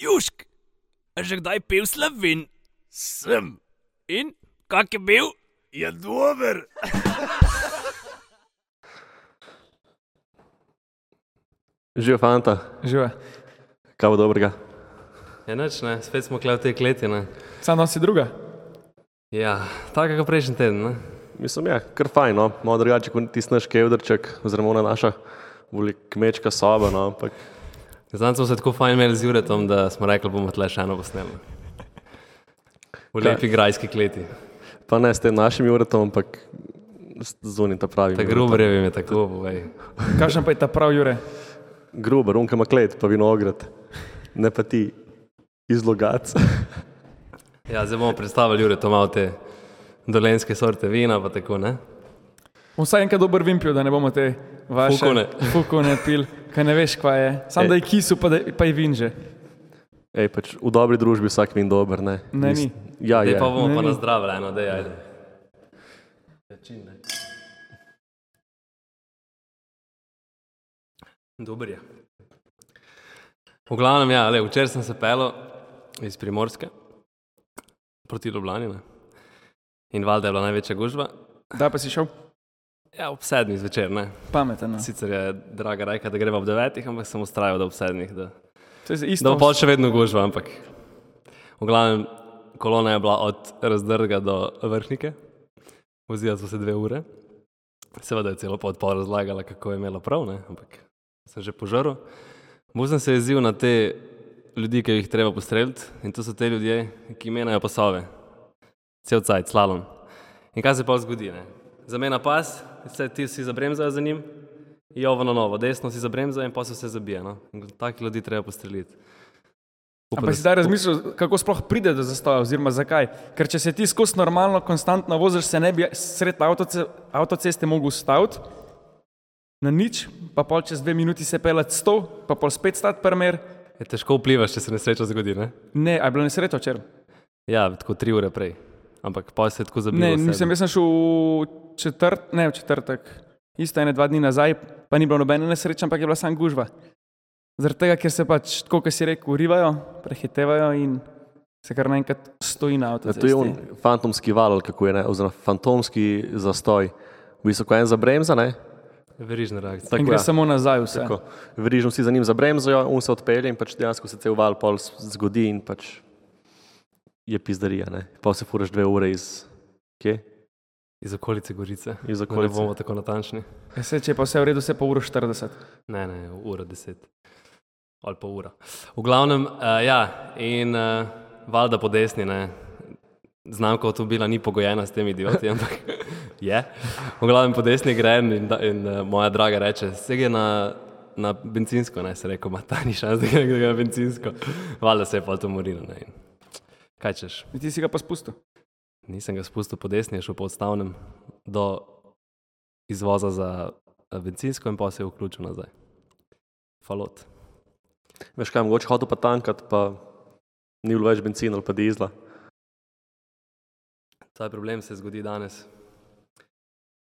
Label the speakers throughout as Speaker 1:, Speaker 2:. Speaker 1: Južk, a že kdaj pil slovin?
Speaker 2: Sem,
Speaker 1: In kak je bil?
Speaker 2: je dober.
Speaker 3: Živijo fanta,
Speaker 4: Žive.
Speaker 3: kaj bo dobrega.
Speaker 5: Enoč, ne, spet smo kle v te kleti. Ne.
Speaker 4: Sam nosi druga.
Speaker 5: Ja, tako kot prejšnji teden. Ne.
Speaker 3: Mislim, ja, kar fajn, no. malo drugače kot tisti naš kevdrček, oziroma ona naša voli kmečka soba. No. Ampak,
Speaker 5: Znam, smo se tako fajn imeli z Juretom, da smo rekli, bomo tle še eno posneli. V lepi grajski kleti.
Speaker 3: pa ne s tem našim uretom, ampak zunaj ta pravi.
Speaker 5: Ta gruberjev je tako, povej.
Speaker 4: Kakšen pa je ta prav, Jure?
Speaker 3: Gruber, unka maklet, pa vinograd, ne pa ti izlogac.
Speaker 5: Ja, zdaj bomo predstavili Juretu malo te dolenske sorte vina, pa tako ne.
Speaker 4: Bom Vsaj enkrat dober vin pil, da ne bomo te vaše
Speaker 5: Fukone.
Speaker 4: fukone pil, kaj ne veš, kva je. Sam
Speaker 3: Ej.
Speaker 4: da je kisu, pa, da, pa je vin že.
Speaker 3: Ej, pač v dobri družbi vsak vin dober, ne?
Speaker 4: Ne, ni.
Speaker 3: Ja,
Speaker 5: Zdaj
Speaker 3: je.
Speaker 5: pa bomo pa
Speaker 4: Ne, ni.
Speaker 5: nazdravili eno, da je ajde. Ja, čim, ne. Dober je. V glavnem, ja, le, včeraj sem se pelil iz Primorske proti Ljubljani. Ne. In valjda je bila največja gužva.
Speaker 4: Da pa si šel
Speaker 5: Ja, ob sedmih zvečer, ne.
Speaker 4: pameten. no.
Speaker 5: Sicer je draga reka, da greva ob devetih, ampak sem ustrajal, da ob sedmih. Da...
Speaker 4: To je
Speaker 5: Da pač
Speaker 4: isto.
Speaker 5: bo No, pol še vedno gužva, ampak v glavnem kolona je bila od razdrga do vrhnike, vozila so se dve ure. Seveda je celo podpor razlagala, kako je imela prav, ne? ampak sem že požrl. Bolj sem se jezil na te ljudi, ki jih je treba postreliti in to so te ljudje, ki menajo pasove. Cel cajt, slalom. In kaj se pa zgodi? Ne? Zamena pas, se ti vsi zabremzajo za njim, jovo na novo, desno si zabremzajo in pa se vse zabije. No? In Takih ljudi treba postreliti. Upam,
Speaker 4: Ampak si zdaj razmišljal, kako sploh pride do zastoja, oziroma zakaj. Ker če se ti skozi normalno, konstantno voziš, se ne bi sred avtoce, avtoceste mogel ustaviti, na nič, pa pol čez dve minuti se pelati sto, pa pol spet stati primer.
Speaker 5: Je težko vplivaš, če se nesreča zgodi. Ne?
Speaker 4: Ne, a je bila nesreča včeraj?
Speaker 5: Ja, tako tri ure prej. Ampak pa se je tako zabilo.
Speaker 4: Ne,
Speaker 5: vse.
Speaker 4: nisem, jaz sem šel v četrt, ne, v četrtek, isto ene dva dni nazaj, pa ni bilo nobene nesreče, ampak je bila sam gužva. Zaradi tega, ker se pač, tako kot si rekel, urivajo, prehitevajo in se kar naenkrat stoji na
Speaker 3: Ja,
Speaker 4: avtocesti.
Speaker 3: To je on fantomski val, ali kako je, ne? oziroma fantomski zastoj. V bistvu, ko en zabremza, ne?
Speaker 5: Verižna reakcija.
Speaker 4: In
Speaker 3: Tako,
Speaker 4: gre
Speaker 3: ja.
Speaker 4: ja. samo nazaj vse.
Speaker 3: Tako, Verižno vsi za njim zabremzajo, on se odpelje in pač dejansko se cel val pol s- zgodi in pač je pizdarija. Ne? Pa se furaš dve ure iz, kje?
Speaker 5: Iz okolice Gorice.
Speaker 3: iz
Speaker 5: Da Ne
Speaker 3: okolice.
Speaker 5: bomo tako natančni.
Speaker 4: Ja, saj, če je pa vse v redu, se pa uro 40.
Speaker 5: Ne, ne, ura deset. Ali pa ura. V glavnem, uh, ja, in uh, valjda po desni, ne. Znamka avtomobila ni pogojena s temi idioti, ampak je. V glavnem po desni grem in, da- in uh, moja draga reče, se gre na, na benzinsko, ne, se reko, ima ta ni šans, da gre da gre na benzinsko. Valjda se je pa to morilo, ne. in Kaj češ?
Speaker 4: In ti si ga pa spustil.
Speaker 5: Nisem ga spustil po desni, je šel po odstavnem do izvoza za eh, bencinsko in pa se je vključil nazaj. Falot.
Speaker 3: Veš kaj, mogoče hotel pa tankat, pa ni bilo več benzina ali pa dizla.
Speaker 5: Ta problem se zgodi danes.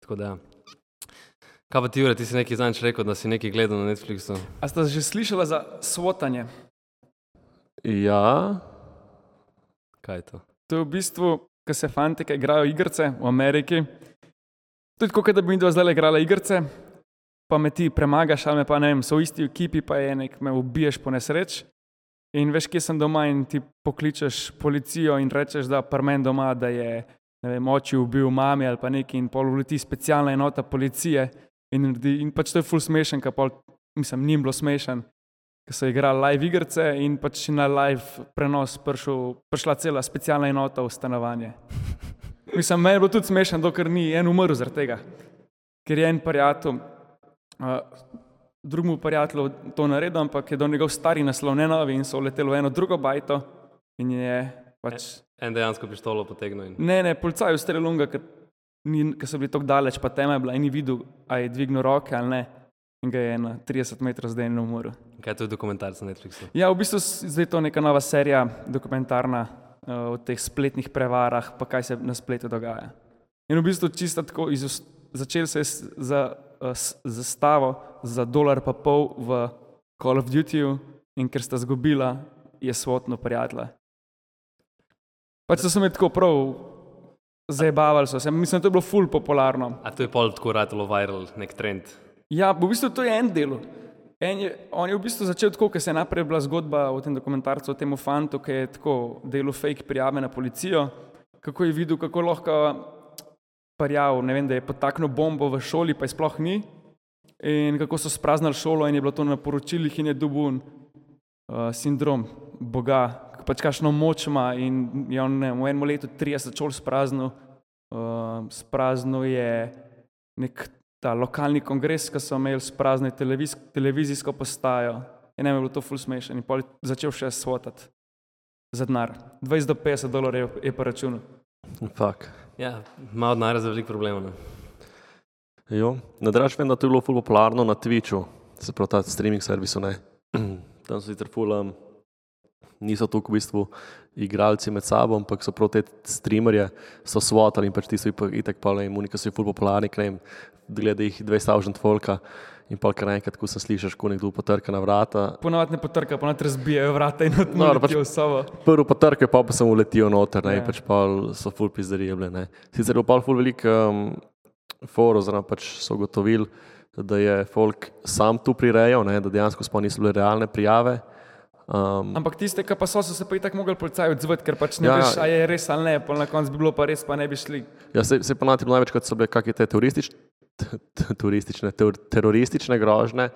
Speaker 5: Tako da. ja. Kaj pa ti, Jure, ti si nekaj zadnjič rekel, da si nekaj gledal na Netflixu?
Speaker 4: A ste že slišali za svotanje?
Speaker 3: Ja,
Speaker 5: Kaj je to?
Speaker 4: To je v bistvu, ko se fanti ki igrajo igrice v Ameriki. Tudi kot da bi mi dva zdaj igrala igrice, pa me ti premagaš, ali me pa ne vem, so v isti ekipi, pa je nek, me ubiješ po nesreč. In veš, kje sem doma, in ti pokličeš policijo in rečeš, da prmen doma, da je ne vem, oči ubil mami ali pa neki, in pol uleti specialna enota policije. In, naredi- in pač to je full smešen, ker pol, mislim, njim bilo smešen ki so igrali live igrice in pač na live prenos prišel, prišla cela specialna enota v stanovanje. Mislim, meni je bilo tudi smešno, dokler ni en umrl zaradi tega, ker je en prijatelj, uh, drugemu prijatelju to naredil, ampak je do njegov stari naslov ne novi in so leteli v eno drugo bajto in je pač.
Speaker 5: En dejansko pištolo potegnil in
Speaker 4: Ne, ne, policaj je ustrelil unga, ker, ni, ker so bili tako daleč, pa tema je bila in ni videl, a je dvignil roke ali ne. In ga je na 30 metrov zdaj in umrl.
Speaker 5: kaj je to je dokumentarc na Netflixu?
Speaker 4: Ja, v bistvu s- zdaj to je neka nova serija, dokumentarna eh, o teh spletnih prevarah, pa kaj se na spletu dogaja. In v bistvu čisto tako, izust- začeli se je s- za eh, s- zastavo za dolar pa pol v Call of Duty in ker sta zgubila, je svotno prijatelja. Pač so se mi tako prav zabavali, so se. Mislim, da to je bilo ful popularno.
Speaker 5: A to je pol tako ratalo viral, nek trend.
Speaker 4: Ja, v bistvu to je en del. En je, on je v bistvu začel tako, ker se je najprej bila zgodba o tem dokumentarcu, o tem fantu, ki je tako delo fake prijave na policijo, kako je videl, kako lahko parjav, ne vem, da je potaknil bombo v šoli, pa je sploh ni, in kako so spraznili šolo in je bilo to na poročilih in je dubun uh, sindrom Boga, k- pač kakšno moč ima in je on ne, vem, v enem letu 30 šol spraznil, uh, spraznil je nek ta lokalni kongres, ki so imeli sprazno televiz televizijsko postajo. In nam je bilo to ful smešno in pol je začel še svotati za denar. 20 do 50 dolarjev je pa račun.
Speaker 3: Fak.
Speaker 5: Ja, malo denarja za veliko problemov. ne.
Speaker 3: Jo. Na draž vem, da to je bilo ful popularno na Twitchu, se pravi ta streaming servisu. Ne. Tam so sicer ful, um, niso tu v bistvu igralci med sabo, ampak so prav te streamerje, so svotali in pač ti so jih itek pa le imunika, so jih ful popularni, klem, glede jih 2000 folka. In pa kar enkrat, ko sem slišal, ko nekdo potrka na vrata,
Speaker 4: Ponovadi ne potrka, ponovadi razbijajo vrata in
Speaker 3: No,
Speaker 4: odmora
Speaker 3: pač-
Speaker 4: pač... v sobo.
Speaker 3: prvo potrke, pa, pa sem uletel noter, ne,
Speaker 4: Ja.
Speaker 3: ja. pač pa so full pizdarije bile. Ne. Sicer je bilo pa full velik um, foro, oziroma pač so ugotovili, da je folk sam tu prirejal, ne, da dejansko sploh niso bile realne prijave. Um,
Speaker 4: Ampak tiste, ki pa so, so se pa itak mogli policaji odzvati, ker pač ne ja.
Speaker 3: Ja.
Speaker 4: veš, a je res ali ne, pol na koncu bi bilo pa res, pa ne bi šli.
Speaker 3: ja, se, se pa najti največkrat so bile kakšne te teroristične, teroristične, ter, teroristične grožne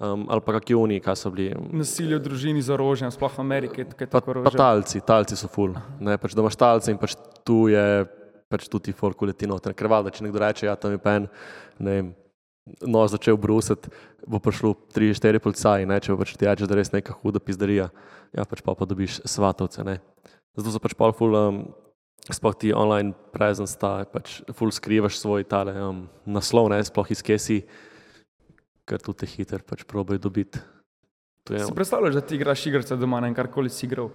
Speaker 3: um, ali pa kakšni oni, kaj so bili. um,
Speaker 4: Nasilje v družini z orožjem, sploh v Ameriki, je tukaj
Speaker 3: Pa, pa
Speaker 4: tako orožje.
Speaker 3: talci, talci so ful. Ne, pač, da imaš talce in pač tu je pač tu ti folk uleti noter. Ker valjda, če nekdo reče, ja, tam je pen, ne vem, nož začel brusiti, bo prišlo 3-4 policaji, ne, če bo pač ti reče, da je res neka huda pizdarija. Ja, pač pa, pa dobiš svatovce. Ne. Zato so pač pol ful, um, sploh ti online presence, ta pač ful skrivaš svoj tale um, naslov, ne, sploh iz kesi, ker tu te hiter pač proboj dobiti. To je-
Speaker 4: Si predstavljaš, da ti igraš igrice doma na karkoli si igral,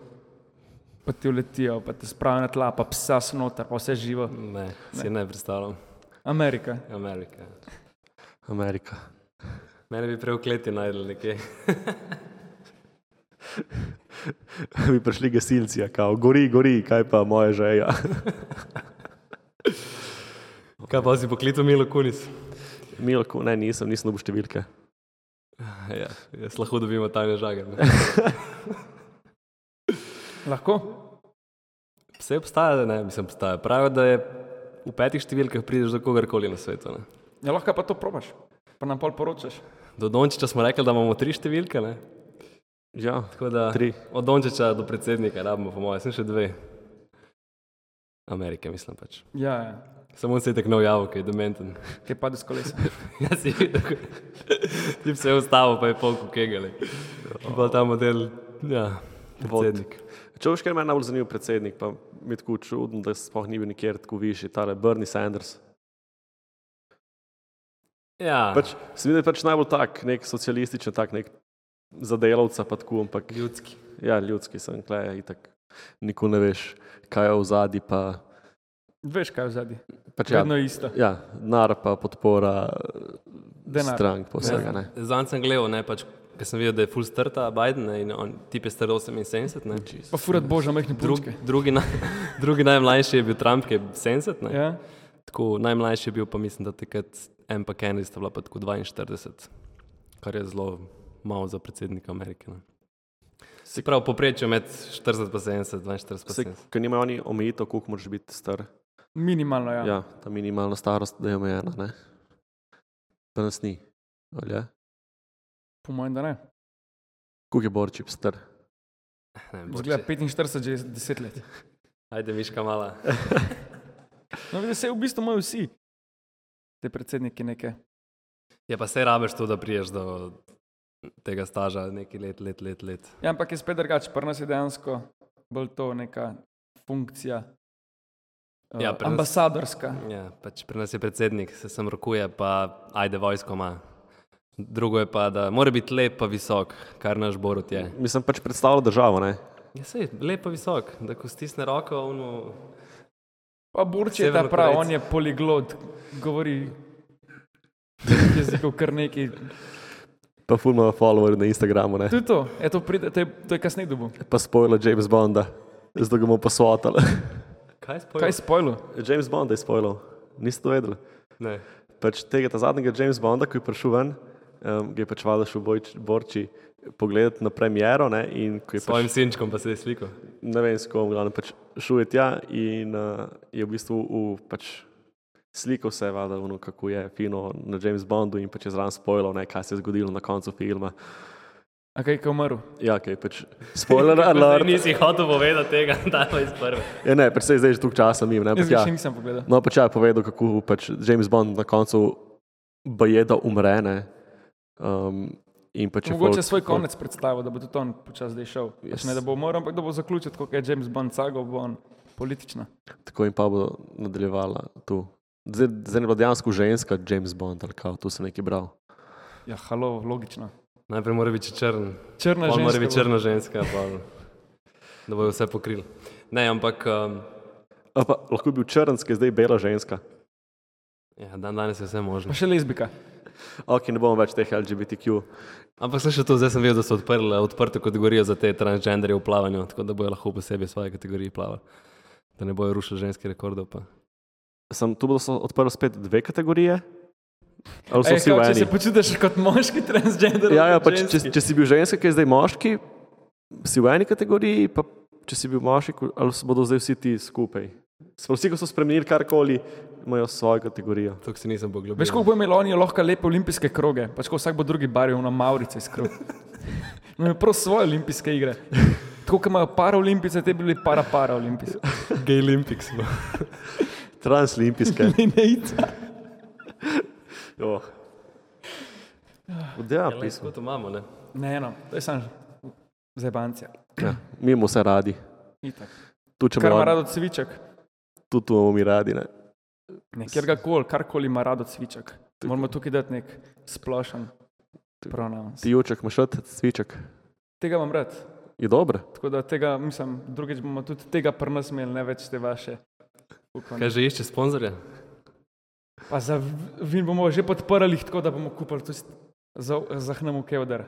Speaker 4: pa ti uletijo, pa te spravijo na tla, pa psa snota, pa vse živo.
Speaker 5: Ne, si ne predstavljam.
Speaker 4: Amerika.
Speaker 5: Ja. Amerika.
Speaker 3: Amerika.
Speaker 5: Mene bi prej v kleti najdel nekje.
Speaker 3: bi prišli gasilci, a kao, gori, gori, kaj pa moja žeja.
Speaker 5: Kaj pa si poklical Milo Kunis?
Speaker 3: Milko, ne, nisem, nisem dobil številke.
Speaker 5: Ja, jaz lahko dobimo tajne žage. ne.
Speaker 4: Lahko?
Speaker 5: Vse obstaja, da ne, mislim, obstaja. Pravijo, da je v petih številkah prideš do kogarkoli na svetu. Ne.
Speaker 4: Ja, lahko pa to probaš, pa nam pol poročaš.
Speaker 5: Do Dončiča smo rekli, da imamo tri številke, ne?
Speaker 3: Ja,
Speaker 5: Tako da,
Speaker 3: Tri.
Speaker 5: Od Dončiča do predsednika, rabimo, po mojem, sem še dve. Amerike, mislim pač.
Speaker 4: Ja, ja.
Speaker 5: Samo on se je tako najavil, ki je dementen.
Speaker 4: kaj pade s kolesa.
Speaker 5: Jaz si videl, ko- tip se je ustavil, pa je pol kukegali. Pa ta model, ja, predsednik.
Speaker 3: če boš kaj meni najbolj zanimiv predsednik, pa mi je tako čudno, da sploh ni bil nikjer tako višji, tale Bernie Sanders.
Speaker 5: Ja,
Speaker 3: Pač, se mi zdi, da je pač najbolj tak, nek socialističen, tak nek za delavca, pa tako, ampak
Speaker 5: ljudski.
Speaker 3: ja, ljudski sem, klej, itak. Nikoli ne veš, kaj je v zadnji, pa
Speaker 4: Veš, kaj je zadnji.
Speaker 3: pač ja,
Speaker 4: Vedno je isto.
Speaker 3: ja, nar pa podpora
Speaker 4: Denar.
Speaker 3: Denar. strank, pa vsega ne.
Speaker 5: Zanj sem gledal, ne pač, ker sem videl, da je full strta Biden ne, in on, tip je star 78. Ne.
Speaker 4: Pa furat božja mehni
Speaker 5: Drug,
Speaker 4: punčke.
Speaker 5: drugi, naj, drugi najmlajši je bil Trump, ki je 70. Ne.
Speaker 4: Ja?
Speaker 5: Tako, najmlajši je bil, pa mislim, da takrat en pa Kennedy sta bila pa tako 42, kar je zelo malo za predsednika Amerike. Ne. Se pravi, poprečje med 40 in 70, 42
Speaker 3: Vse,
Speaker 5: in 70.
Speaker 3: ker nimajo oni omejitev, koliko moraš biti star.
Speaker 4: Minimalno, ja. ja.
Speaker 3: Ja, ta minimalna starost, da je omejena. ne. Pri nas ni. ali je?
Speaker 4: Po mojem, da ne.
Speaker 3: Koliko je borčip star?
Speaker 5: Ne, Borči.
Speaker 4: Zgleda 45, že 10 let.
Speaker 5: Ajde, miška mala.
Speaker 4: No, vidiš, se v bistvu imajo vsi. Te predsedniki neke.
Speaker 5: Je pa se rabeš to, da priješ do tega staža, nekaj let, let, let. let.
Speaker 4: Ja, ampak je spet drugače, pri nas je dejansko bolj to neka funkcija. Uh,
Speaker 5: Ja, pri nas-
Speaker 4: ambasadorska.
Speaker 5: Ja, pač pri nas je predsednik, se sem rokuje, pa ajde, vojsko ima. Drugo je pa, da mora biti lep pa visok, kar naš Borut je.
Speaker 3: Mislim, pač predstavlja državo, ne?
Speaker 5: Ja, sej, lep pa visok, da ko stisne roko, ono,
Speaker 4: Pa Burč je ta prav,
Speaker 5: Severnokorejci.
Speaker 4: on je poliglot, govori jezikov kar neki.
Speaker 3: pa fulno follower na Instagramu, ne?
Speaker 4: To je to, e, to, pride, to, je, to je kasneje dobil.
Speaker 3: pa spoiler James Bonda, zdaj ga bomo posvotali.
Speaker 5: Kaj
Speaker 4: Kaj je
Speaker 5: spojil?
Speaker 4: spojilo?
Speaker 3: James Bonda je spoilal, niste to vedeli.
Speaker 5: Ne.
Speaker 3: Pač tega ta zadnjega James Bonda, ki je prišel ven, um, ga je pač valjda šel Bojč- Borči pogledati na premiero ne, in ko je
Speaker 5: S
Speaker 3: pač
Speaker 5: svojim sinčkom pa se je slikal.
Speaker 3: ne vem, s kom, glavno pač šel je tja in uh, je v bistvu v, pač slikal se, vada, ono, kako je fino na James Bondu in pač je zraven spoilal, ne, kaj se je zgodilo na koncu filma.
Speaker 4: A kaj je umrl?
Speaker 3: Ja, kaj pač spoiler
Speaker 5: Zdaj
Speaker 3: alert.
Speaker 5: Nisi hotel povedati tega, da je iz prve.
Speaker 3: Ja, ne, pač saj zdaj že tu časa mi, ne,
Speaker 4: Jaz
Speaker 3: pač
Speaker 4: ga
Speaker 3: ja.
Speaker 4: še nisem pogledal.
Speaker 3: No, pač ja je povedal, kako pač James Bond na koncu bajeda umre, ne. Um, in pač je
Speaker 4: Mogoče
Speaker 3: folk-
Speaker 4: svoj
Speaker 3: folk-
Speaker 4: konec predstavil, da bo tudi on počasi zdaj šel. Yes.
Speaker 3: Yes.
Speaker 4: Ne da bo umrl, ampak da bo zaključil, kot je James Bond sago, bo on politična.
Speaker 3: Tako in pa bo nadaljevala tu. Zdaj, zdaj je bila dejansko ženska James Bond, ali kako, tu sem nekaj bral.
Speaker 4: Ja, halo, logično.
Speaker 5: Najprej mora biti črn,
Speaker 4: Črna
Speaker 5: pol mora
Speaker 4: ženska.
Speaker 5: biti
Speaker 4: bo-
Speaker 5: črna ženska, pa, da bojo vse pokrili. Ne, ampak um,
Speaker 3: A Pa, lahko je bil črnski, zdaj bela ženska.
Speaker 5: ja, dan danes je vse možno.
Speaker 4: Pa še lezbika.
Speaker 3: Ok, ne bomo več teh LGBTQ.
Speaker 5: Ampak sem še to, zdaj sem videl, da so odprli odprto kategorijo za te transgenderje v plavanju, tako da bojo lahko posebej v svoji kategoriji plavali. Da ne bojo rušili ženskih rekordov. Pa.
Speaker 3: Sem tu bodo so odprli spet dve kategorije. Ali so
Speaker 4: Ej,
Speaker 3: vsi
Speaker 4: kao,
Speaker 3: v
Speaker 4: če se
Speaker 3: eni?
Speaker 4: počutiš kot moški transgender,
Speaker 3: Ja, ja
Speaker 4: kot
Speaker 3: pač,
Speaker 4: ženski.
Speaker 3: če, če si bil ženska, ki je zdaj moški, si v eni kategoriji, pa če si bil moški, ali so bodo zdaj vsi ti skupaj. Smo vsi, ko so spremenili karkoli, imajo svojo kategorijo.
Speaker 5: To si nisem poglobil.
Speaker 4: Veš, koliko bo imelo oni lahko lepe olimpijske kroge, pač ko vsak bo drugi baril na Maurice iz krog. No, je prav svoje olimpijske igre. Tako, kot imajo paraolimpice, te bi bili para-paraolimpice.
Speaker 5: gej Olympics. bo.
Speaker 3: Translimpijske.
Speaker 4: Linejca.
Speaker 3: Oh. Ja,
Speaker 5: Ja,
Speaker 3: pismo.
Speaker 5: Tako to imamo, ne?
Speaker 4: Ne, no, to je samo zebancija.
Speaker 3: Ja, mi imamo vse radi.
Speaker 4: Itak.
Speaker 3: Tu, če
Speaker 4: Kar
Speaker 3: imamo
Speaker 4: ima
Speaker 3: rado,
Speaker 4: rado cviček.
Speaker 3: tu, tu imamo mi radi. Ne?
Speaker 4: Ne, kjer ga koli, karkoli ima rado cviček. Moramo tukaj dati nek splošen pronoun.
Speaker 3: Ti juček, imaš rad cviček,
Speaker 4: Tega imam rad.
Speaker 3: je dobro.
Speaker 4: Tako da tega, mislim, drugič bomo tudi tega pri nas imeli, ne več te vaše.
Speaker 5: Kaj
Speaker 4: Ukone.
Speaker 5: že išče sponzorja?
Speaker 4: Pa za v- vin bomo že podprli, jih tako da bomo kupili tudi za, za hnemo kevdar.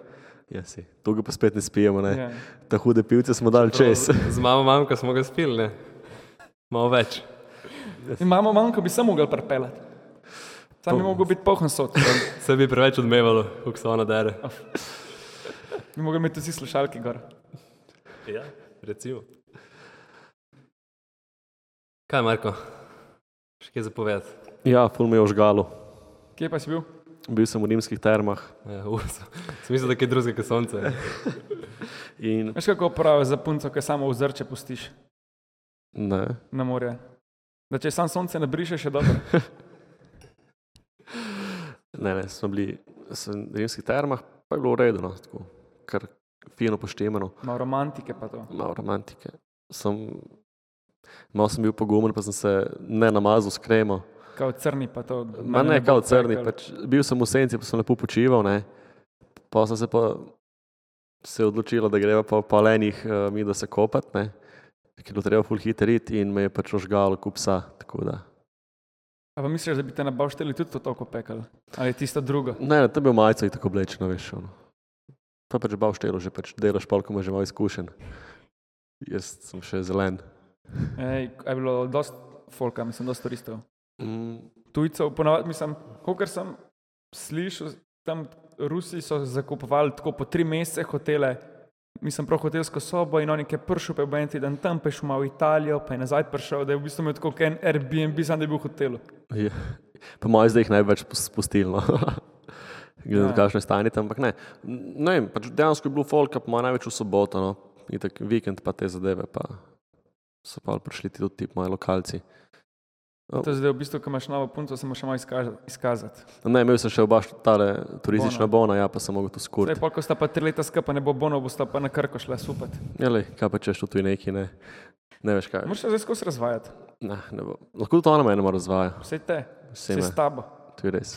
Speaker 3: Ja, si. Tu ga pa spet ne spijemo, ne. Ja.
Speaker 4: Ja.
Speaker 3: Ta hude pivce smo dali čez.
Speaker 5: Z mamo mamko smo ga spili, ne? Malo več.
Speaker 4: In Imamo manjko, bi samo mogli pripeljati. Sam bi
Speaker 3: To-
Speaker 4: mogel biti pohon sod.
Speaker 5: Se bi preveč odmevalo, kako se ona dere.
Speaker 4: Bi mogli imeti vsi slušalke gor.
Speaker 5: Ja, recimo. Kaj, Marko? Še kaj zapovedati?
Speaker 3: Ja, ful me je ožgalo.
Speaker 4: Kje pa si bil?
Speaker 3: Bil sem v rimskih termah
Speaker 5: Ja, u, sem sem mislil, da je kaj drugega kot sonce.
Speaker 3: in
Speaker 4: Veš kako pravijo za punco, ki samo vzrče pustiš
Speaker 3: ne.
Speaker 4: na morje. Da če sam sonce ne briše, še dobro.
Speaker 3: Ne, ne, smo bili sem v rimskih termah, pa je bilo urejeno, tako kar fino poštemeno,
Speaker 4: Malo romantike pa to.
Speaker 3: malo romantike. Sem, malo sem bil pogumen, pa sem se ne namazal s kremo.
Speaker 4: Kao crni pa to.
Speaker 3: Ma
Speaker 4: mene
Speaker 3: ne,
Speaker 4: bo
Speaker 3: kao crni,
Speaker 4: pekal.
Speaker 3: pač, bil sem v senci, pa sem lepo počival, ne. Pa sem se pa se odločila, da greva po palenih uh, mi, da se kopat, ne. Ker je bilo treba full hiter iti in me je pač ožgalo kup psa, tako da.
Speaker 4: A pa misliš, da bi te na bavšteli tudi to tako pekel? Ali je tisto drugo?
Speaker 3: Ne, ne, to je bil majica in tako oblečeno, veš, ono. To je pač bav štelo, že pač delaš pol, ko imaš že malo izkušen. Jaz sem še zelen. Ja.
Speaker 4: Ej, a je bilo dosti folka, mislim, dosti turistov.
Speaker 3: Mm,
Speaker 4: Tujcev, ponavadi mislim, kolikor sem slišal, tam Rusi so zakupovali tako po tri mesece hotele. Mislim, prav hotelsko sobo in on je prišel, pa je bil en teden tam, pa je šel malo v Italijo, pa je nazaj prišel, da je v bistvu imel tako kot en Airbnb, sam da je bil v hotelu.
Speaker 3: je, po mojem zdaj jih največ pos- spustilo. no. Glede na
Speaker 4: Ja.
Speaker 3: to, kakšno je stanje tam, ampak ne. N- Ne vem, pač dejansko je bilo folka, po mojem največ v soboto, no. In tako vikend pa te zadeve, pa so pa prišli ti tudi ti moji lokalci.
Speaker 4: To je zdaj v bistvu, ko imaš novo punco, se moraš še malo izkaza- izkazati.
Speaker 3: No, Ne, imel sem še oba št- tale turistična bona, ja, pa sem mogel to
Speaker 4: Zdaj,
Speaker 3: skuriti.
Speaker 4: pol, ko sta pa tri leta skupaj, ne bo bono, bosta pa na krko šla supat.
Speaker 3: Jeli, Ja, kaj pa češ tu neki, ne. Ne veš kaj.
Speaker 4: Moraš se zdaj skozi razvajati,
Speaker 3: Ne, ne bo. Lahko tudi ona mene razvaja,
Speaker 4: vse te,
Speaker 3: vse
Speaker 4: vse
Speaker 3: me,
Speaker 4: s tabo.
Speaker 3: to je res.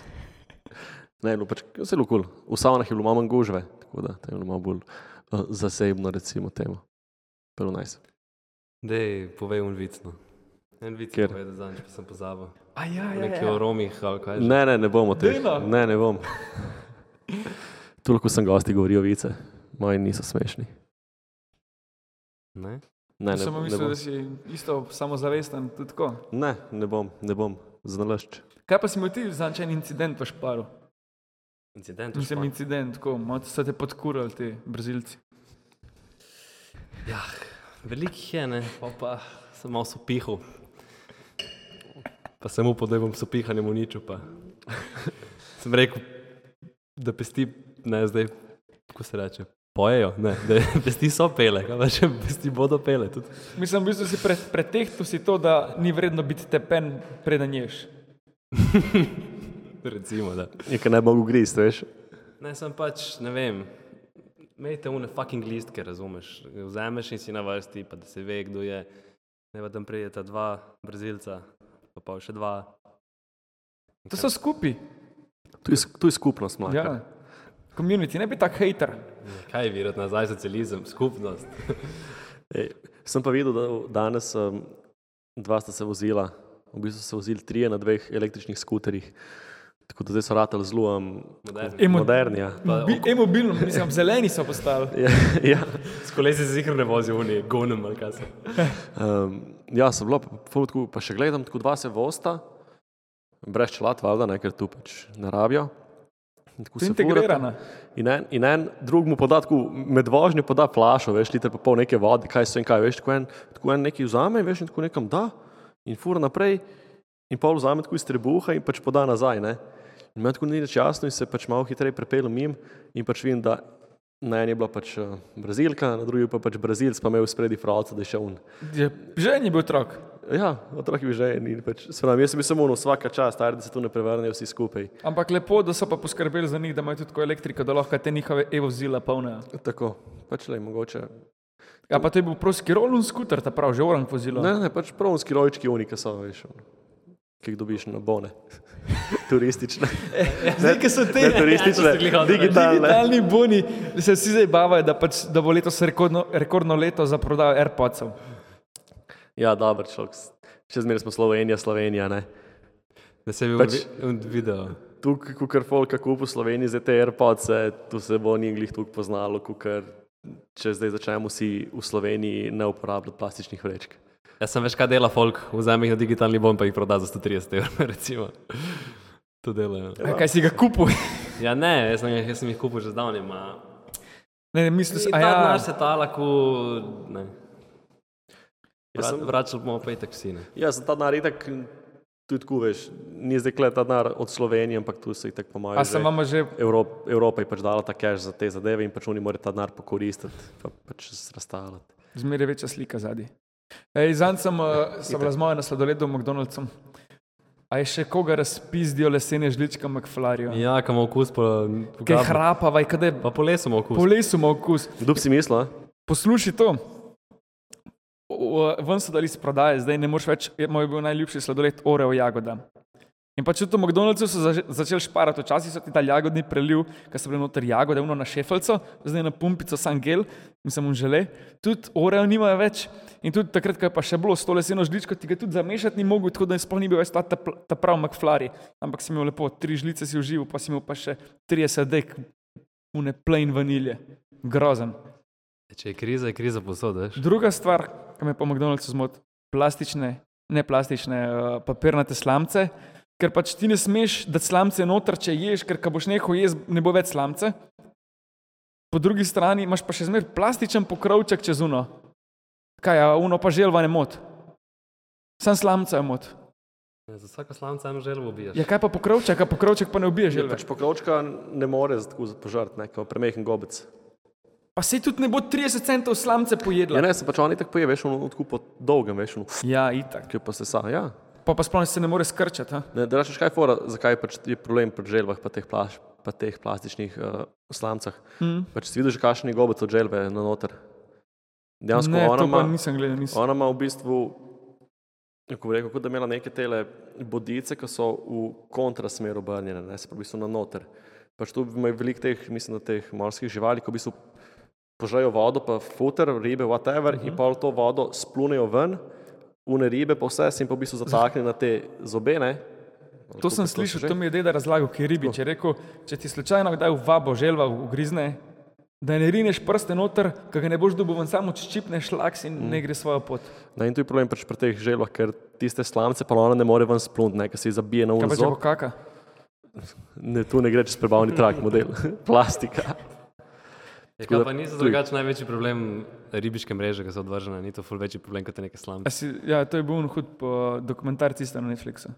Speaker 3: Ne, je bilo pač zelo kul. Cool. V savnah je bilo malo manj gužve, tako da to je bilo malo bolj uh, zasebno, recimo temu. Prvo naj se.
Speaker 5: Dej, povej un vic. No. En vic je
Speaker 3: Kjer?
Speaker 5: povedal, zanj, pa sem pozabil.
Speaker 4: A ja, ja,
Speaker 5: Nekje o Romih ali kaj že.
Speaker 3: Ne, ne, ne bomo tega.
Speaker 4: Dela.
Speaker 3: Ne, ne bom. Tu lahko sem gosti govorijo vice, moji niso smešni.
Speaker 5: Ne?
Speaker 3: Ne, ne,
Speaker 4: Samo
Speaker 3: ne,
Speaker 4: mislim,
Speaker 3: bom.
Speaker 4: da si isto samozavesten, tudi tako.
Speaker 3: ne, ne bom, ne bom, znalašč.
Speaker 4: Kaj pa si imel ti za en incident v Šparu?
Speaker 5: Incident. v
Speaker 4: Mislim,
Speaker 5: Španiji.
Speaker 4: incident, tako, malo so te podkurali ti brazilci.
Speaker 5: Veliko jih je, ne, pa, pa sem malo sopihal. Pa sem upal, da bom sopihanjem uničil. Pa. sem rekel, da pesti, ne zdaj, kako se reče, pojejo, ne, da pesti so pele, kaj pa če pesti bodo pele. Tudi.
Speaker 4: Mislim, v bistvu si pre, pretehtal si to, da ni vredno biti tepen, preden ješ.
Speaker 5: Recimo, da.
Speaker 3: Nekaj ne mogu grist, veš.
Speaker 5: Ne, sem pač, ne vem, imejte une fucking listke, razumeš. Vzameš in si na vrsti, pa da se ve, kdo je. Ne pa tam prideta dva brazilca, pa pa še dva.
Speaker 4: To so skupaj,
Speaker 3: Tu je, sk- tu je skupnost no. mlaka.
Speaker 4: ja. Komunity, ne bi tak hater.
Speaker 5: Kaj je virot nazaj, socializem, skupnost.
Speaker 3: Ej, sem pa videl, da v- danes um, dva sta se vozila, v bistvu so se vozili trije na dveh električnih skuterjih. Tako da zdaj so ratali zelo um,
Speaker 5: Moderni.
Speaker 4: Emo-
Speaker 3: moderni. Ja.
Speaker 4: Bi- E-mobilno, mislim, zeleni so postali.
Speaker 3: Ja, ja.
Speaker 5: S kolesi se zikr ne vozijo, oni gonem ali kaj se.
Speaker 3: Um, ja, sem bila pa, ful tako, pa še gledam, tako dva se vosta, brez čelat, valjda, ne, ker tu pač ne rabijo. In Tako
Speaker 4: So
Speaker 3: se furata.
Speaker 4: integrirana.
Speaker 3: In en, in en drug mu poda, tako med vožnjo poda flašo, veš, liter pa pol neke vode, kaj se in kaj, veš, tako en, tako en neki vzame, veš, in tako nekam da, in fura naprej, in pol vzame tako iz trebuha in pač poda nazaj, ne. In meni tako ni več jasno in se pač malo hitreje prepeljem mim in pač vidim, da na eni je bila pač eh, Brazilka, na drugi pa pač Brazilc, pa imel spredi pravca, da je še un.
Speaker 4: Je, že ni bil otrok.
Speaker 3: Ja, otrok je bil že en in pač, se pravi, jaz sem bil samo ono vsaka čast, ajde, da se tu ne prevrnejo vsi skupaj.
Speaker 4: Ampak lepo, da so pa poskrbeli za njih, da imajo tudi tako elektriko, da lahko te njihove e-vozila polnijo.
Speaker 3: Tako, pač le, mogoče
Speaker 4: Ja, pa to je bil prosti rolun skuter, ta prav, že orang vozilo.
Speaker 3: Ne, ne, pač pravonski rojčki unika so, veš, ono, ki jih dobiš na bone. Turistične.
Speaker 4: Zdaj, ki so te
Speaker 3: Ne turistične,
Speaker 5: glih hotel reči.
Speaker 3: digitalne.
Speaker 4: digitalni boni, se vsi zdaj bavajo, da, pač, da bo letos rekordno, rekordno leto za prodajo AirPodsov.
Speaker 3: Ja, dobro, šok. Še zmeraj smo Slovenija, Slovenija, ne.
Speaker 5: Da se je bil
Speaker 3: Pač-
Speaker 5: pač... video.
Speaker 3: Tu, ko kar folka kup v Sloveniji, zdaj te AirPodse, tu se bo njih tu poznalo, ko kar, če zdaj začnemo vsi v Sloveniji ne uporabljati plastičnih vrečk.
Speaker 5: Jaz sem veš, kaj dela folk, vzame jih na digitalni bon, pa jih proda za 130 evrov, recimo. To delajo.
Speaker 4: Ja. Kaj si ga kupil?
Speaker 5: Ja, ne, jaz sem, jih- jaz sem jih kupil že zdavnim. a-
Speaker 4: Ne, ne, mislil sem, a
Speaker 5: Ta
Speaker 4: ja,
Speaker 5: denar se tala, ko... Ne. Ja,
Speaker 3: Jaz sem-
Speaker 5: Vračal bomo pa i taksine.
Speaker 3: Ja, sem ta denar itak, tudi tako veš, ni zdaj kle ta denar od Slovenije, ampak tu se jih tako pomaga.
Speaker 4: a sem vam že.
Speaker 3: Evrop, Evropa je pač dala ta cache za te zadeve in pač oni morajo ta denar pokoristiti, pa pač razstavljati.
Speaker 4: Zmeraj je večja slika zadaj. Zanj sem, eh, sem bila z mojo na sladoledu v McDonald'su. A je še koga razpizdijo lesene žličke McFlarju?
Speaker 5: Ja, kam okus pa...
Speaker 4: Kaj hrapava, kaj je
Speaker 5: Pa po lesu ima okus.
Speaker 4: po lesu ima okus.
Speaker 3: Kdo bi si mislil? a?
Speaker 4: Poslušaj to. O- o- Ven so dali iz prodaje, zdaj ne moreš več. je- Moj je bil najljubši sladoled Oreo jagoda. In pač tudi v McDonald'su so zaže- začeli šparati, včasih so ti dali jagodni preliv, ker so bili noter jagode, uno na šefalco, zdaj na pumpico sangel in sem mu želel. Tudi Oreo nimajo več. In tudi takrat, ko je pa še bilo s to leseno žličko, ti ga tudi zamešati ni mogel, tako da sploh ni bil več ta, ta, pl- ta prav McFlurry. Ampak si imel lepo, tri žlice si užival, pa si imel pa še 30 dek, une plain vanilje. Grozen.
Speaker 5: Če je kriza, je kriza posod, veš.
Speaker 4: Druga stvar, ki me po McDonald'su zmoti, plastične, ne plastične, eh, papirnate slamce, ker pač ti ne smeš dati slamce noter, če ješ, ker ko boš nehal jesti, ne bo več slamce. Po drugi strani imaš pa še zmeraj plastičen pokrovček čez uno. Kaj, a uno pa želva ne mot. Sam slamca je mot.
Speaker 5: Ja, za vsako slamca eno želvo ubiješ.
Speaker 4: Ja, kaj pa pokrovček, a pokrovček pa ne ubije
Speaker 3: Ja,
Speaker 4: želve.
Speaker 3: pač pokrovčka ne more za tako požrti, ne, kot premehen gobec.
Speaker 4: Pa se tudi ne bo 30 centov slamce
Speaker 3: Ja,
Speaker 4: pojedla.
Speaker 3: ne, se pač oni tako poje, veš, ono tako po dolgem, veš, ono,
Speaker 4: Ja, itak.
Speaker 3: ki pa se sa. Ja.
Speaker 4: Pa pa sploh se ne more skrčati. ha.
Speaker 3: Ne, da rečeš, kaj je fora, zakaj pač je problem pri želvah, pa teh, plaš, pa teh plastičnih uh, slamcah.
Speaker 4: Hmm.
Speaker 3: Mm. Pač si videl, že kakšen je gobec od želve na noter. Dejansko
Speaker 4: Ne,
Speaker 3: ona
Speaker 4: to pa
Speaker 3: ima.
Speaker 4: nisem gledal, nisem.
Speaker 3: Ona ima v bistvu, kako bi rekel, kot da ima neke tele bodice, ki so v kontrasmer obrnjene, ne se pravi, so na noter. Pač tu ima veliko teh, mislim, da teh morskih živali, ki v bistvu požrejo vodo, pa futer, ribe, whatever, uh -huh.
Speaker 4: Mhm.
Speaker 3: in pa to vodo splunejo ven, une ribe, pa vse se jim pa v bistvu zatakne na te zobe, ne,
Speaker 4: To sem slišal, to mi je deda razlagal, ki je ribič. Je rekel, če ti slučajno kdaj v vabo želva ugrizne, da ne rineš prste noter, ker ga ne boš dobil, ven samo čipneš laks in mm. ne gre svojo pot.
Speaker 3: Ne, in tu je problem pač pri teh želvah, ker tiste slamce pa ona ne more ven splunt, ne, ker se ji zabije na
Speaker 4: Kaj pa če bo
Speaker 3: ulico.
Speaker 4: kaka?
Speaker 3: Ne, tu ne gre čez prebavni trak model, plastika.
Speaker 5: Je,
Speaker 3: da
Speaker 5: kaj pa niso
Speaker 3: tu-
Speaker 5: drugače največji problem ribiške mreže, ki so odvržene, ni to ful večji problem kot te neke
Speaker 4: A
Speaker 5: slamke.
Speaker 4: Si, ja, to je bil un hud po dokumentarcu tisto na Netflixu.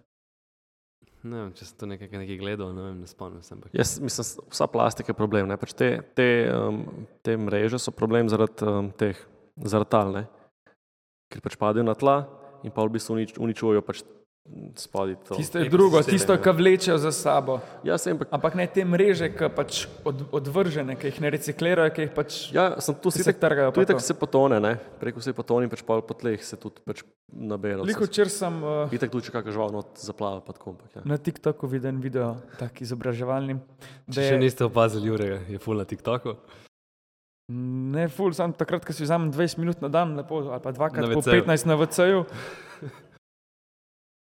Speaker 5: Ne vem, če sem to nekaj, nekaj gledal, ne vem, ne spomnim se. ampak-
Speaker 3: Jaz mislim, s- vsa plastika je problem. ne, Pač te, te, um, te mreže so problem zaradi um, teh zrtal, ker pač padejo na tla in pa v bistvu unič, uničujejo pač spodaj. to.
Speaker 4: Tisto je drugo,
Speaker 5: ekosistem,
Speaker 4: tisto,
Speaker 5: ja.
Speaker 4: kar vlečejo za sabo.
Speaker 3: Ja, sem, ampak,
Speaker 4: Ampak ne te mreže, ki pač od, odvržene, ki jih ne reciklirajo, ki jih pač.
Speaker 3: ja, sem tu
Speaker 4: Se
Speaker 3: sicer-
Speaker 4: trgajo
Speaker 3: Tu
Speaker 4: pa
Speaker 3: je tako
Speaker 4: to.
Speaker 3: se potone, ne? preko se potoni, pač pa po tleh se tudi pač nabere.
Speaker 4: Veliko čer sem uh,
Speaker 3: Itak tu, če kakšen žival not zaplava pod kompak. Ja.
Speaker 4: na TikToku videl video, tak izobraževalni. da
Speaker 5: Če
Speaker 4: je-
Speaker 5: še niste opazili, Jurega je ful na TikToku.
Speaker 4: Ne, ful, sam takrat, ko si vzamem 20 minut na dan, lepo, ali pa dvakrat
Speaker 5: Na
Speaker 4: po
Speaker 5: WC-ju.
Speaker 4: 15 na VC-ju.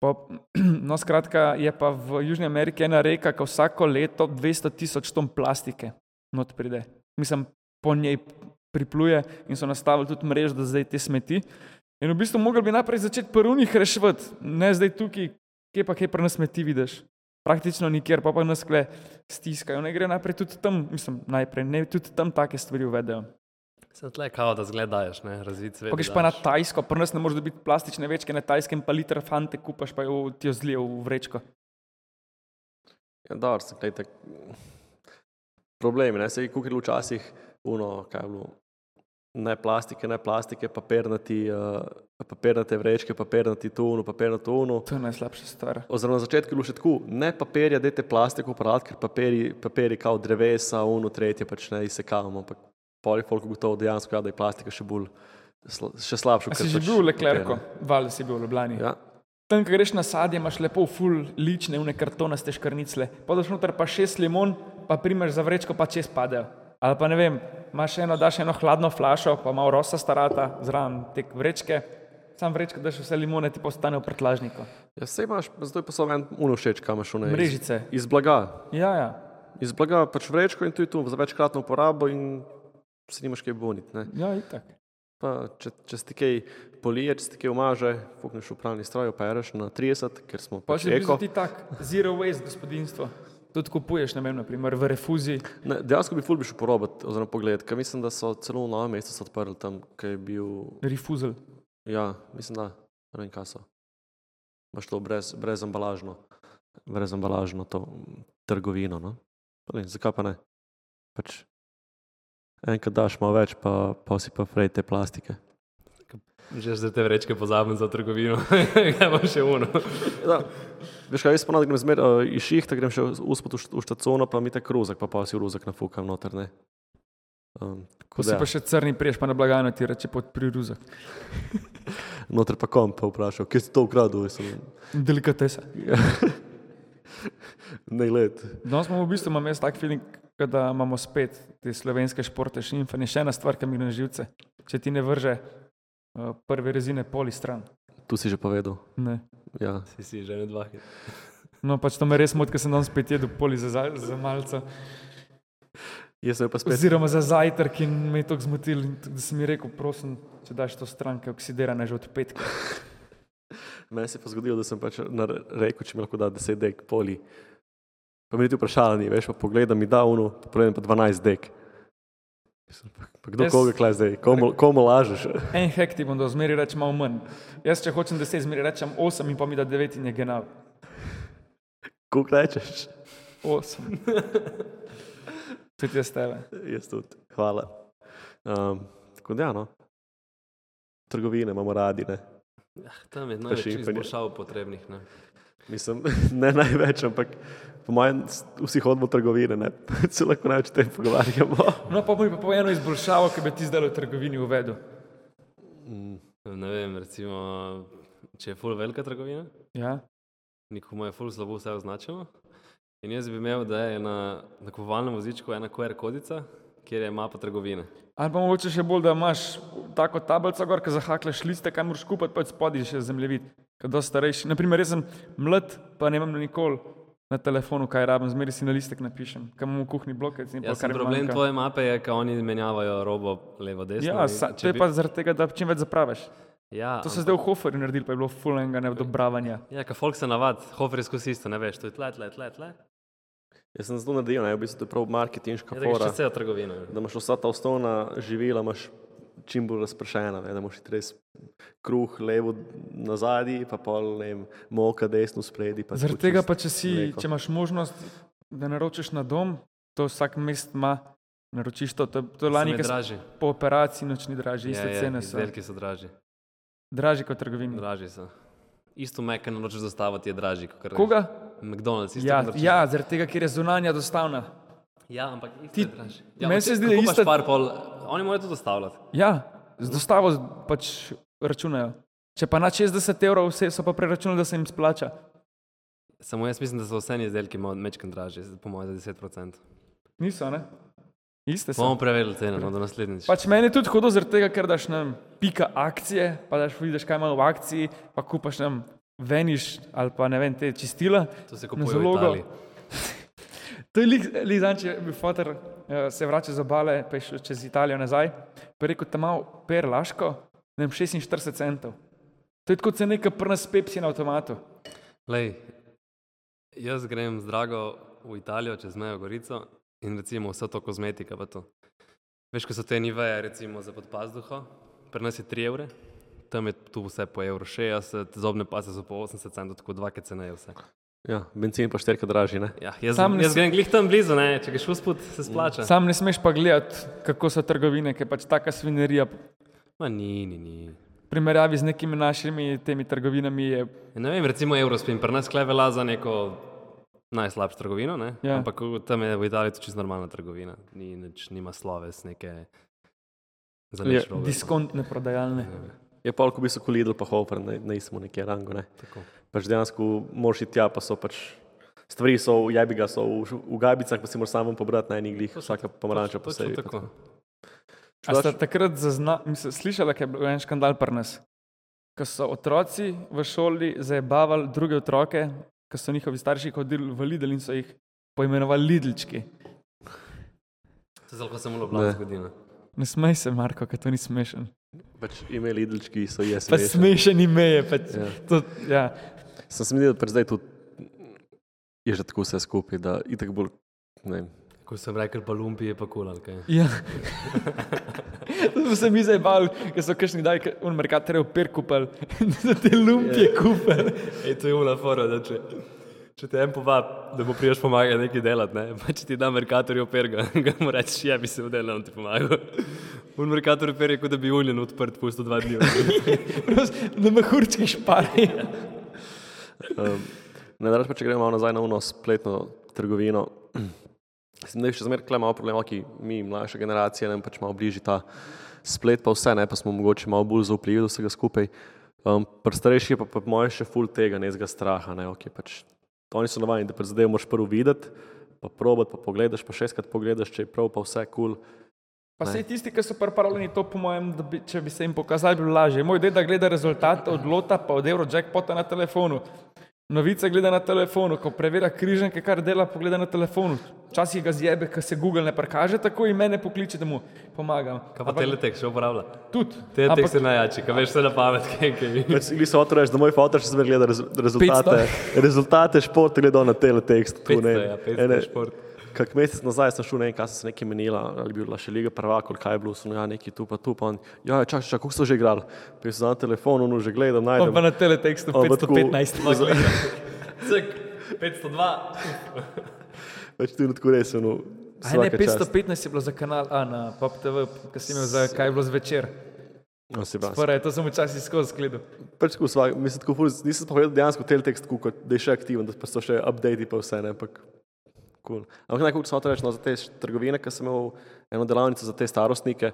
Speaker 4: Po, no, skratka, je pa v Južni Ameriki ena reka, ki vsako leto 200 tisoč ton plastike not pride. Mislim, po njej pripluje in so nastavili tudi mrežo, da zdaj te smeti. In v bistvu mogli bi najprej začeti prvih reševati, ne zdaj tukaj, kje pa kje pa nas smeti vidiš. Praktično nikjer, pa pa nas kle stiskajo. Ne gre najprej tudi tam, mislim, najprej ne, tudi tam take stvari uvedejo.
Speaker 5: Se tle kao, da zgledaš, ne, razvid svet.
Speaker 4: Pa greš pa na Tajsko, pri nas ne moreš dobiti plastične večke na Tajskem, pa liter fante kupaš, pa jo ti jo zlije v vrečko.
Speaker 3: Ja, dobro, se gledajte. Problemi, ne, se je kukilo včasih, uno, kaj je bilo, ne plastike, ne plastike, papirnati, uh, papirnate vrečke, papirnati tunu, papirnato unu.
Speaker 4: To je najslabša stvar.
Speaker 3: Oziroma, na začetku je bilo še tako, ne papirja, dajte plastiko uporabljati, ker papiri, papiri kao drevesa, unu, tretje pač ne izsekavamo. Ampak pol je folk gotovo dejansko, ja, da je plastika še bolj, sla, še slabša.
Speaker 4: A
Speaker 3: ker
Speaker 4: si že
Speaker 3: pač
Speaker 4: bil v Leklerku,
Speaker 3: papir,
Speaker 4: valjda si bil v Ljubljani.
Speaker 3: ne. Ja,
Speaker 4: Tam, ko greš na sadje, imaš lepo ful lične, une kartonaste škrnicle. Podaš noter pa šest limon, pa primeš za vrečko, pa čez padejo. Ali pa ne vem, imaš eno, daš eno hladno flašo, pa malo rosa starata, zraven te vrečke, sam vrečko daš vse limone, ti postane v pretlažniku.
Speaker 3: ja sej imaš, zato je pa samo en uno všeč, kam imaš v ne.
Speaker 4: Mrežice.
Speaker 3: Iz blaga.
Speaker 4: Ja, ja.
Speaker 3: iz blaga pač vrečko in tu je tu za večkratno uporabo in se nimaš kaj boniti. ne.
Speaker 4: Ja, itak.
Speaker 3: Pa, če, če si ti kaj polije, če si ti kaj umaže, pukneš v pralni stroj, pa ješ na 30, ker smo
Speaker 4: Pa
Speaker 3: pač
Speaker 4: če bi
Speaker 3: eko.
Speaker 4: ti tak, zero waste gospodinstvo. Tudi kupuješ, ne vem, naprimer, v refuzi.
Speaker 3: Ne, dejansko bi fulbiš uporabiti, oziroma pogledati, ker mislim, da so celo v novem mestu so odprli tam, ki je bil,
Speaker 4: Refuzel.
Speaker 3: ja, mislim, da ne vem, kaj so. Imaš to brez, brez embalažno, brez embalažno to mm, trgovino. No? Pa Ne, zakaj pa ne? Pač, enkrat daš malo več, pa, pa si pa frej te plastike.
Speaker 5: Že zdaj te vrečke pozabim za trgovino, kaj pa še uno.
Speaker 3: Da. Veš kaj, jaz ponad grem zmer, uh, iz šihta grem še uspod v, št- v štacono, pa mi tak ruzak, pa pa si ruzak nafukam noter, ne. Um,
Speaker 4: Ko si
Speaker 3: da,
Speaker 4: pa še crni priješ, pa na blagajno ti reče pod priruzek.
Speaker 3: Noter pa kom pa vprašal, kje si to ukradel, jaz sem,
Speaker 4: Delikatesa.
Speaker 3: Ja. ne gled.
Speaker 4: No, smo v bistvu, imam jaz tak feeling, kot da imamo spet te slovenske športe še in še ena stvar, ki mi gre na živce. Če ti ne vrže uh, prve rezine poli stran.
Speaker 3: Tu si že povedal,
Speaker 4: Ne.
Speaker 3: ja.
Speaker 5: Si si že ne dvakrat.
Speaker 4: No, pač to me res moti, ker sem danes spet jedel poli za, za, za malce.
Speaker 3: Jaz sem jo pa spet,
Speaker 4: Oziroma za zajtrk in me je to zmotil, in tako da sem mi rekel, prosim, če daš to stran, ki je oksidirana že od petka.
Speaker 3: meni se je pa zgodilo, da sem pač na- rekel, če mi lahko da 10 dek poli. Pa mi je tudi vprašalo, ni, veš, pa pogledam mi da uno, pa pogledam pa 12 dek. Mislim, Pa, pa kdo
Speaker 4: Jaz-
Speaker 3: koga klaj zdaj, komu, komu lažeš?
Speaker 4: En hek ti bom dal, zmeri rečem malo manj. Jaz, če hočem 10, zmeri rečem 8 in pa mi da 9 in je genau.
Speaker 3: Kuk rečeš?
Speaker 4: 8. Tudi jaz tebe.
Speaker 3: Jaz tudi, hvala. Um, tako da, ja, no. Trgovine imamo radi, ne.
Speaker 5: Tam je
Speaker 3: največ
Speaker 5: največ
Speaker 3: šimpanje.
Speaker 5: izboljšav potrebnih. Ne?
Speaker 3: Mislim, ne največ, ampak po mojem s- vsi hodimo v trgovine, ne. Se lahko največ o tem pogovarjamo.
Speaker 4: No, pa mi pa povej eno izboljšavo, ki bi ti zdaj v trgovini uvedel.
Speaker 5: ne vem, recimo, če je full velika trgovina,
Speaker 4: Ja?
Speaker 5: nikomu je full slabo vse označeno. In jaz bi imel, da je na nakupovalnem vozičku ena QR kodica, kjer je mapa trgovine.
Speaker 4: Ali pa mogoče še bolj, da imaš tako tablico, gor, ki zahakleš liste, kaj moraš kupiti, pa spodaj še zemljevid. ki je dosti starejši. Naprimer, jaz sem mlad, pa ne imam nikoli na telefonu, kaj rabim, zmeri si na listek napišem, kam imam v kuhinji blokec. in
Speaker 5: Ja,
Speaker 4: pol,
Speaker 5: sem
Speaker 4: kar mi
Speaker 5: problem
Speaker 4: manjka.
Speaker 5: tvoje mape je, da oni menjavajo robo levo, desno.
Speaker 4: Ja,
Speaker 5: in
Speaker 4: sa,
Speaker 5: če
Speaker 4: to je
Speaker 5: bi-
Speaker 4: pa zaradi tega, da čim več zapraviš.
Speaker 5: ja,
Speaker 4: To so zdaj v Hoferju naredili, pa je bilo fulenga neodobravanja.
Speaker 5: Ja, ka folk se navad, hofer je skozi isto, ne veš, to je tle, tle, tle, tle.
Speaker 3: Jaz sem zelo nadejan, v bistvu to je prav marketinška
Speaker 5: Ja, da greš
Speaker 3: fora.
Speaker 5: čez celo trgovino.
Speaker 3: da imaš vsa ta osnovna živila, imaš čim bolj razpršena, ne, da imaš iti res kruh levo nazaj, pa pol ne vem, moka desno spredi. pa
Speaker 4: Zaradi
Speaker 3: tako
Speaker 4: tega
Speaker 3: čisto
Speaker 4: pa, če, si,
Speaker 3: mleko.
Speaker 4: če imaš možnost, da naročiš na dom, to vsak mest ima, naročiš to. To, to lani,
Speaker 5: Lani je
Speaker 4: ki smo
Speaker 5: dražji.
Speaker 4: po operaciji, noč ni dražje, iste
Speaker 5: Ja,
Speaker 4: ja,
Speaker 5: ja,
Speaker 4: cene so. Hm.
Speaker 5: Izdelki so dražji.
Speaker 4: Dražje kot trgovina.
Speaker 5: Dražji so. Isto meka ne nočeš dostavati je dražji. kakor greš
Speaker 4: Koga?
Speaker 5: McDonald's. Isto,
Speaker 4: Ja,
Speaker 5: ko naročiš-
Speaker 4: ja, zaradi tega, ker je zunanja dostavna.
Speaker 5: ja, ampak isto
Speaker 4: Ti-
Speaker 5: je dražji. Ja,
Speaker 4: meni
Speaker 5: ampak
Speaker 4: se
Speaker 5: če-
Speaker 4: zdi,
Speaker 5: ko
Speaker 4: da je
Speaker 5: kupaš
Speaker 4: ista-
Speaker 5: Par, pol, oni morajo to dostavljati.
Speaker 4: Ja, z dostavo z- pač računajo. Če pa na 60 evrov vse so pa preračunali, da se jim splača.
Speaker 5: Samo jaz mislim, da so vse izdelki malo mečken dražji, po mojem za 10%.
Speaker 4: Niso, ne? Iste so.
Speaker 5: Bomo preverili ceno, no, do naslednjič.
Speaker 4: Pač meni je tudi hudo zaradi tega, ker daš nam pika akcije, pa daš vidiš, kaj imajo v akciji, pa kupaš nam veniš ali pa ne vem, te čistila.
Speaker 5: to se
Speaker 4: na
Speaker 5: kupuje v
Speaker 4: zalogo.
Speaker 5: Italiji.
Speaker 4: To je lizan, če bi fotor uh, se vračal z obale, pa je šel čez Italijo nazaj, pa je rekel, tam imamo perlaško, ne vem, 46 centov. To je kot se neka prna s pepsi na avtomatu.
Speaker 5: Lej, jaz grem z drago v Italijo, čez mejo Gorico in recimo vsa to kozmetika. pa To. Veš, ko so te niveje recimo za podpazduho, pri nas je 3 evre, tam je tu vse po evro 60, zobne pase so po 80 centov, tako dvakrat ceneje vse.
Speaker 3: Ja, bencin pa šterka dražji, ne?
Speaker 5: Ja, jaz,
Speaker 4: Sam ne
Speaker 5: jaz
Speaker 4: s-
Speaker 5: grem glih tam blizu, ne? če greš usput, se splača.
Speaker 4: Sam ne smeš pa gledati, kako so trgovine, ker je pač taka svinerija. v
Speaker 5: Ma ni, ni, ni.
Speaker 4: Primerjavi z nekimi našimi temi trgovinami je
Speaker 5: E, Ne vem, recimo Eurospin, pri nas kleve velja za neko najslabšo trgovino, ne?
Speaker 4: Ja.
Speaker 5: ja. ampak v- tam je v Italiji to čisto normalna trgovina, ni nič, nima sloves, neke za
Speaker 3: Je
Speaker 5: nič robe.
Speaker 4: diskontne prodajalne.
Speaker 3: Je pa v bistvu kolidl pa hofer, ne, ne smo nekje rango, ne?
Speaker 5: Tako.
Speaker 3: Pač dejansko moraš iti tja, pa so pač stvari so, jabi ga so v, š- v gabicah, pa si moraš sam pobrati na enih glih, vsaka pomaranča posebej.
Speaker 5: Točno
Speaker 3: pa
Speaker 5: tako.
Speaker 3: tako.
Speaker 4: A ste
Speaker 3: Šlaš-
Speaker 4: takrat zazna, mislim, slišali, kaj je bil en škandal pri nas? Ko so otroci v šoli zajebavali druge otroke, ko so njihovi starši hodili v Lidl in so jih poimenovali Lidlčki.
Speaker 5: Se zelo sem
Speaker 3: Ne.
Speaker 5: ulovljen zgodina.
Speaker 4: Ne smej se, Marko, ker to ni smešen.
Speaker 3: Pač ime lidlčki so jaz.
Speaker 4: Pa smešen ime je. Pač.
Speaker 3: Ja.
Speaker 4: To, ja.
Speaker 3: Sem se videl, da pač zdaj tudi je že tako vse skupaj, da itak bolj, ne vem,
Speaker 5: Ko sem rekel, pa lumpi je pa kul ali kaj.
Speaker 4: Ja. to smo se mi zajebali, ker so kakšni daj, un merkator je opir kupil, da te lumpije kupil.
Speaker 5: Ej, to je ula fora, da če, če te en povabi, da mu priješ pomagati nekaj delati, ne? pa če ti da Merkator operga, ga mu rečeš, ja bi se v delu, on ti pomaga. Un Merkator oper je kot da bi uljen odprt pusto dva dni.
Speaker 4: Prost, Na mehurčki špari.
Speaker 3: Um, ne da pa če gremo malo nazaj na uno spletno trgovino. Sem da je še zmeraj tule malo problema, ki mi, mlajša generacija, nam pač malo bližje ta splet, pa vse ne, pa smo mogoče malo bolj zaupljivi do vsega skupaj. Um, pri starejših je pa, pa po mojem še full tega nezga straha. Ne, okay, pač, oni so navadni, da pač zadevo moraš prvo videti, pa probat, pa pogledaš, pa šestkrat pogledaš, če je prav, pa vse kul. Cool.
Speaker 4: Pa vse tisti, ki so pripravljeni, to po mojem, da bi, če bi se jim pokazali, bi bilo lažje. Moj deda gleda rezultate od lota, pa od Eurojackpota na telefonu. Novice gleda na telefonu, ko preverja križanke, kar dela, pogleda na telefonu. Včasih ga zjebe, ker se Google ne prikaže tako in mene pokliče, da mu pomagam.
Speaker 5: Kaj pa teletek še uporablja?
Speaker 4: Tudi.
Speaker 5: Teletek
Speaker 4: Ampak-
Speaker 5: se najjači, kaj veš vse na pamet, kaj kaj.
Speaker 3: Pač, ili se otroš, da moj fotor še zmeraj gleda rez, rezultate, rezultate športa, gleda na teletekst. tu,
Speaker 5: Petsto,
Speaker 3: ne,
Speaker 5: ja, petsto
Speaker 3: ene-
Speaker 5: šport.
Speaker 3: Kak mesec nazaj sem šel, ne vem, kaj so se nekaj menila, ali je bila še Liga prvaka, ali kaj je bilo, so ja, neki tu pa tu, pa on, ja, čakaj, čakaj, kako so že igrali. Pa jaz sem na telefonu, no, že gledam,
Speaker 4: Pa pa
Speaker 3: najdem.
Speaker 4: na teletekstu
Speaker 3: On pa tako-
Speaker 4: 515.
Speaker 5: Cek, 502.
Speaker 3: Pač tu je tako res, no.
Speaker 4: Aj, ne,
Speaker 3: svaka čast.
Speaker 4: 515 je bilo za kanal A na Pop TV, ki si imel za kaj je bilo zvečer.
Speaker 3: No, se bram.
Speaker 4: Torej, to sem včasih skozi gledal.
Speaker 3: Pač tako vsak, mislim, tako ful, nisem pa gledal dejansko teletekst, tako kot da je še aktiven, da pa so še updati pa vse, ne, ampak cool. Ampak nekako sem hotel reči, no, za te š- trgovine, ker sem imel eno delavnico za te starostnike,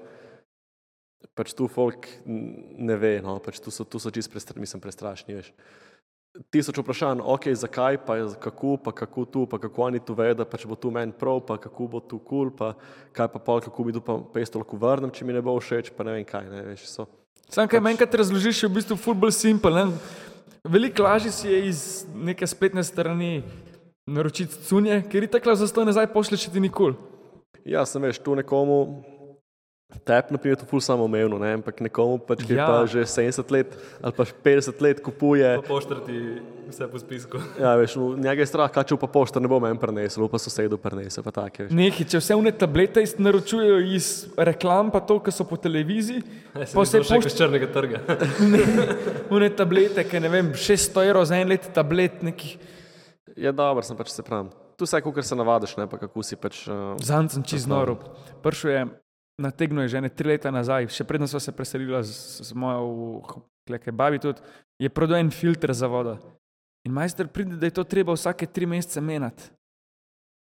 Speaker 3: pač tu folk n- ne ve, no, pač tu so, tu so čist prestra, mislim, prestrašni, veš. Tisoč vprašanj, ok, zakaj, pa je- kako, pa kako tu, pa kako oni to vedo, pa če bo tu meni prav, pa kako bo tu kul, cool, pa kaj pa pol, kako bi tu pa pesto lahko vrnem, če mi ne bo všeč, pa ne vem kaj, ne veš. So.
Speaker 4: Sam kaj menjkrat razložiš, je v bistvu fulbol simpel. ne. Veliko lažje si je iz neke spletne strani naročiti cunje, ker je tako za to nazaj pošlješ, če ti nikoli.
Speaker 3: Ja, sem veš, tu nekomu, tebi, na primer, to ful samoumevno, ne, ampak nekomu, pač, ki ja.
Speaker 4: Ja.
Speaker 3: pa že 70 let ali pa 50 let kupuje,
Speaker 5: Poštrati vse po spisku.
Speaker 3: ja, veš, v- njega je strah, kaj če bo pa pošta ne bo meni prenesel, bo pa sosedu prenesel, pa take, veš.
Speaker 4: Neki, če vse vne tablete iz- naročujejo iz reklam, pa to, kar so po televiziji,
Speaker 5: Ja,
Speaker 4: pa vse
Speaker 5: pošti
Speaker 4: pošte
Speaker 5: z črnega trga.
Speaker 4: vne tablete, ki ne vem, 600 evrov za en let tablet nekih.
Speaker 3: Ja, dobro, sem pač se pravim. Tu vse, kar se navadiš, ne, pa kako si pač... Uh,
Speaker 4: Zancem čez
Speaker 3: Tako.
Speaker 4: noro. Pršel je, nategnil je že ne tri leta nazaj, še predno sva se preselila z, z mojo kleke babi tudi, je prodal en filter za vodo. In majster pride, da je to treba vsake tri mesece menjati.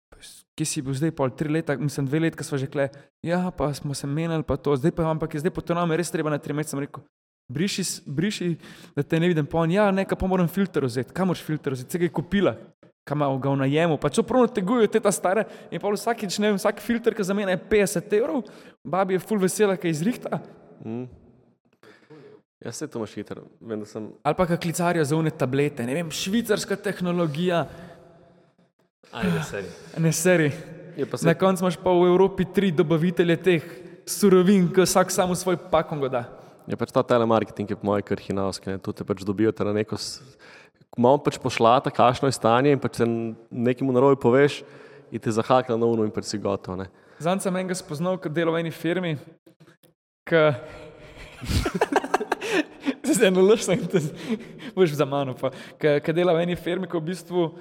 Speaker 4: Pa jaz, Kje si bil zdaj, pol tri leta, mislim dve leti, ko smo že kle, ja, pa smo se menjali, pa to, zdaj pa imam, ampak je zdaj po to nam res treba na tri mesece, sem rekel. Briši, s- briši, da te ne vidim, pa on, ja, nekaj pa moram filter vzeti, kam moraš filter vzeti, se ga je kupila, kam ima ga v najemu, pa čeprav tegujejo te ta stare, in pa vsakič, ne vem, vsak filter, ki za mene je 50 evrov, babi je full vesela, ki izrihta,
Speaker 3: mm. Ja, se to imaš hitro, vem, da sem...
Speaker 4: ali pa ki klicarijo za une tablete, ne vem, švicarska tehnologija,
Speaker 5: Ajde, seri.
Speaker 4: ne seri.
Speaker 3: Je pa se
Speaker 4: Na koncu imaš pa v Evropi tri dobavitelje teh surovin, ki vsak samo svoj pakon ga da.
Speaker 3: Je pač ta telemarketing, je po mojem, kar hinavski. ne. Tu te pač dobijo te na neko, s- malo pač pošlata, kakšno je stanje in pač se nekemu narovi poveš in te zahakla na unu in pač si gotovo. ne.
Speaker 4: Zanj sem enega spoznal, ker delo v eni firmi, ki... Zdaj eno laž sem, to boš za mano, pa. Ki dela v eni firmi, ki v bistvu uh,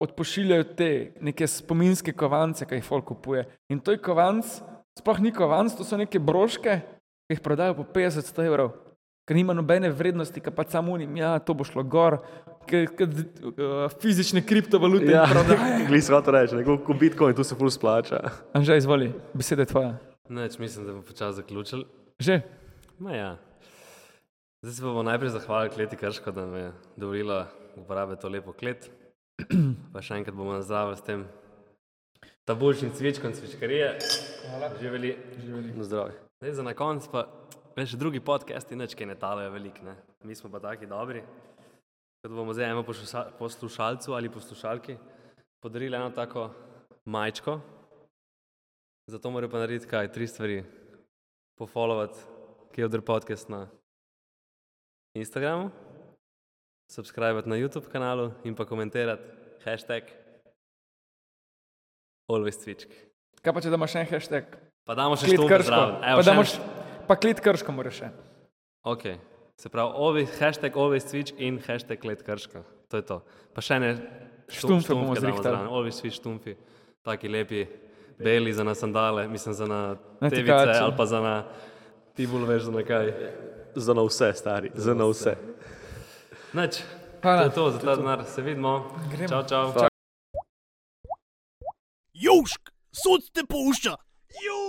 Speaker 4: odpošiljajo te neke spominske kovance, ki jih folk kupuje. In to je kovanc, sploh ni kovanc, to so neke broške, ki jih prodajo po 50 evrov. Ker nima nobene vrednosti, ki pa samo unim, ja, to bo šlo gor, ker ker, uh, fizične kriptovalute ja. prodajajo.
Speaker 3: glis hoče reči, neko kot Bitcoin, tu se ful splača.
Speaker 4: Anže, izvoli, beseda je tvoja.
Speaker 5: Neč, mislim, da bo počasi zaključil.
Speaker 4: Že?
Speaker 5: Ma ja. Zdaj se bomo najprej zahvalili kleti Krško, da mi je dovolila uporabiti to lepo klet. Pa še enkrat bomo nazdravili s tem tabuljšim cvičkom cvičkarije. Hvala. Živeli.
Speaker 3: Na zdravje.
Speaker 5: Zdaj za na konc pa, veš, drugi podcasti nič kaj ne talajo velik, ne. Mi smo pa taki dobri. Kot bomo zdaj eno pošusa- poslušalcu ali poslušalki podarili eno tako majčko. Zato morajo pa narediti kaj, tri stvari. Pofollowati Kevdr podcast na Instagramu, subskrbati na YouTube kanalu in pa komentirati hashtag Always Twitch.
Speaker 4: Kaj pa če daš še en hashtag?
Speaker 5: Pa damo še
Speaker 4: Klit
Speaker 5: štumpe
Speaker 4: krško.
Speaker 5: zraven. Evo,
Speaker 4: Pa,
Speaker 5: še en
Speaker 4: damoš, pa klit krško moraš še.
Speaker 5: Ok, se pravi, ovi, hashtag Always Switch in hashtag Let Krška. To je to. Pa še ne
Speaker 4: Štumfe bomo zrihtali.
Speaker 5: Always Switch štumfi, taki lepi, beli za nas sandale, mislim za na
Speaker 4: Na
Speaker 5: tevice
Speaker 4: tikače.
Speaker 5: ali pa za na tibul veš za na kaj.
Speaker 3: Za na vse, stari, za na vse.
Speaker 5: Nač, to
Speaker 4: Hvala.
Speaker 5: je to, za ta denar, se vidimo.
Speaker 4: Gremo.
Speaker 5: Čau, čau.
Speaker 1: Južk, sod te pušča. Južk.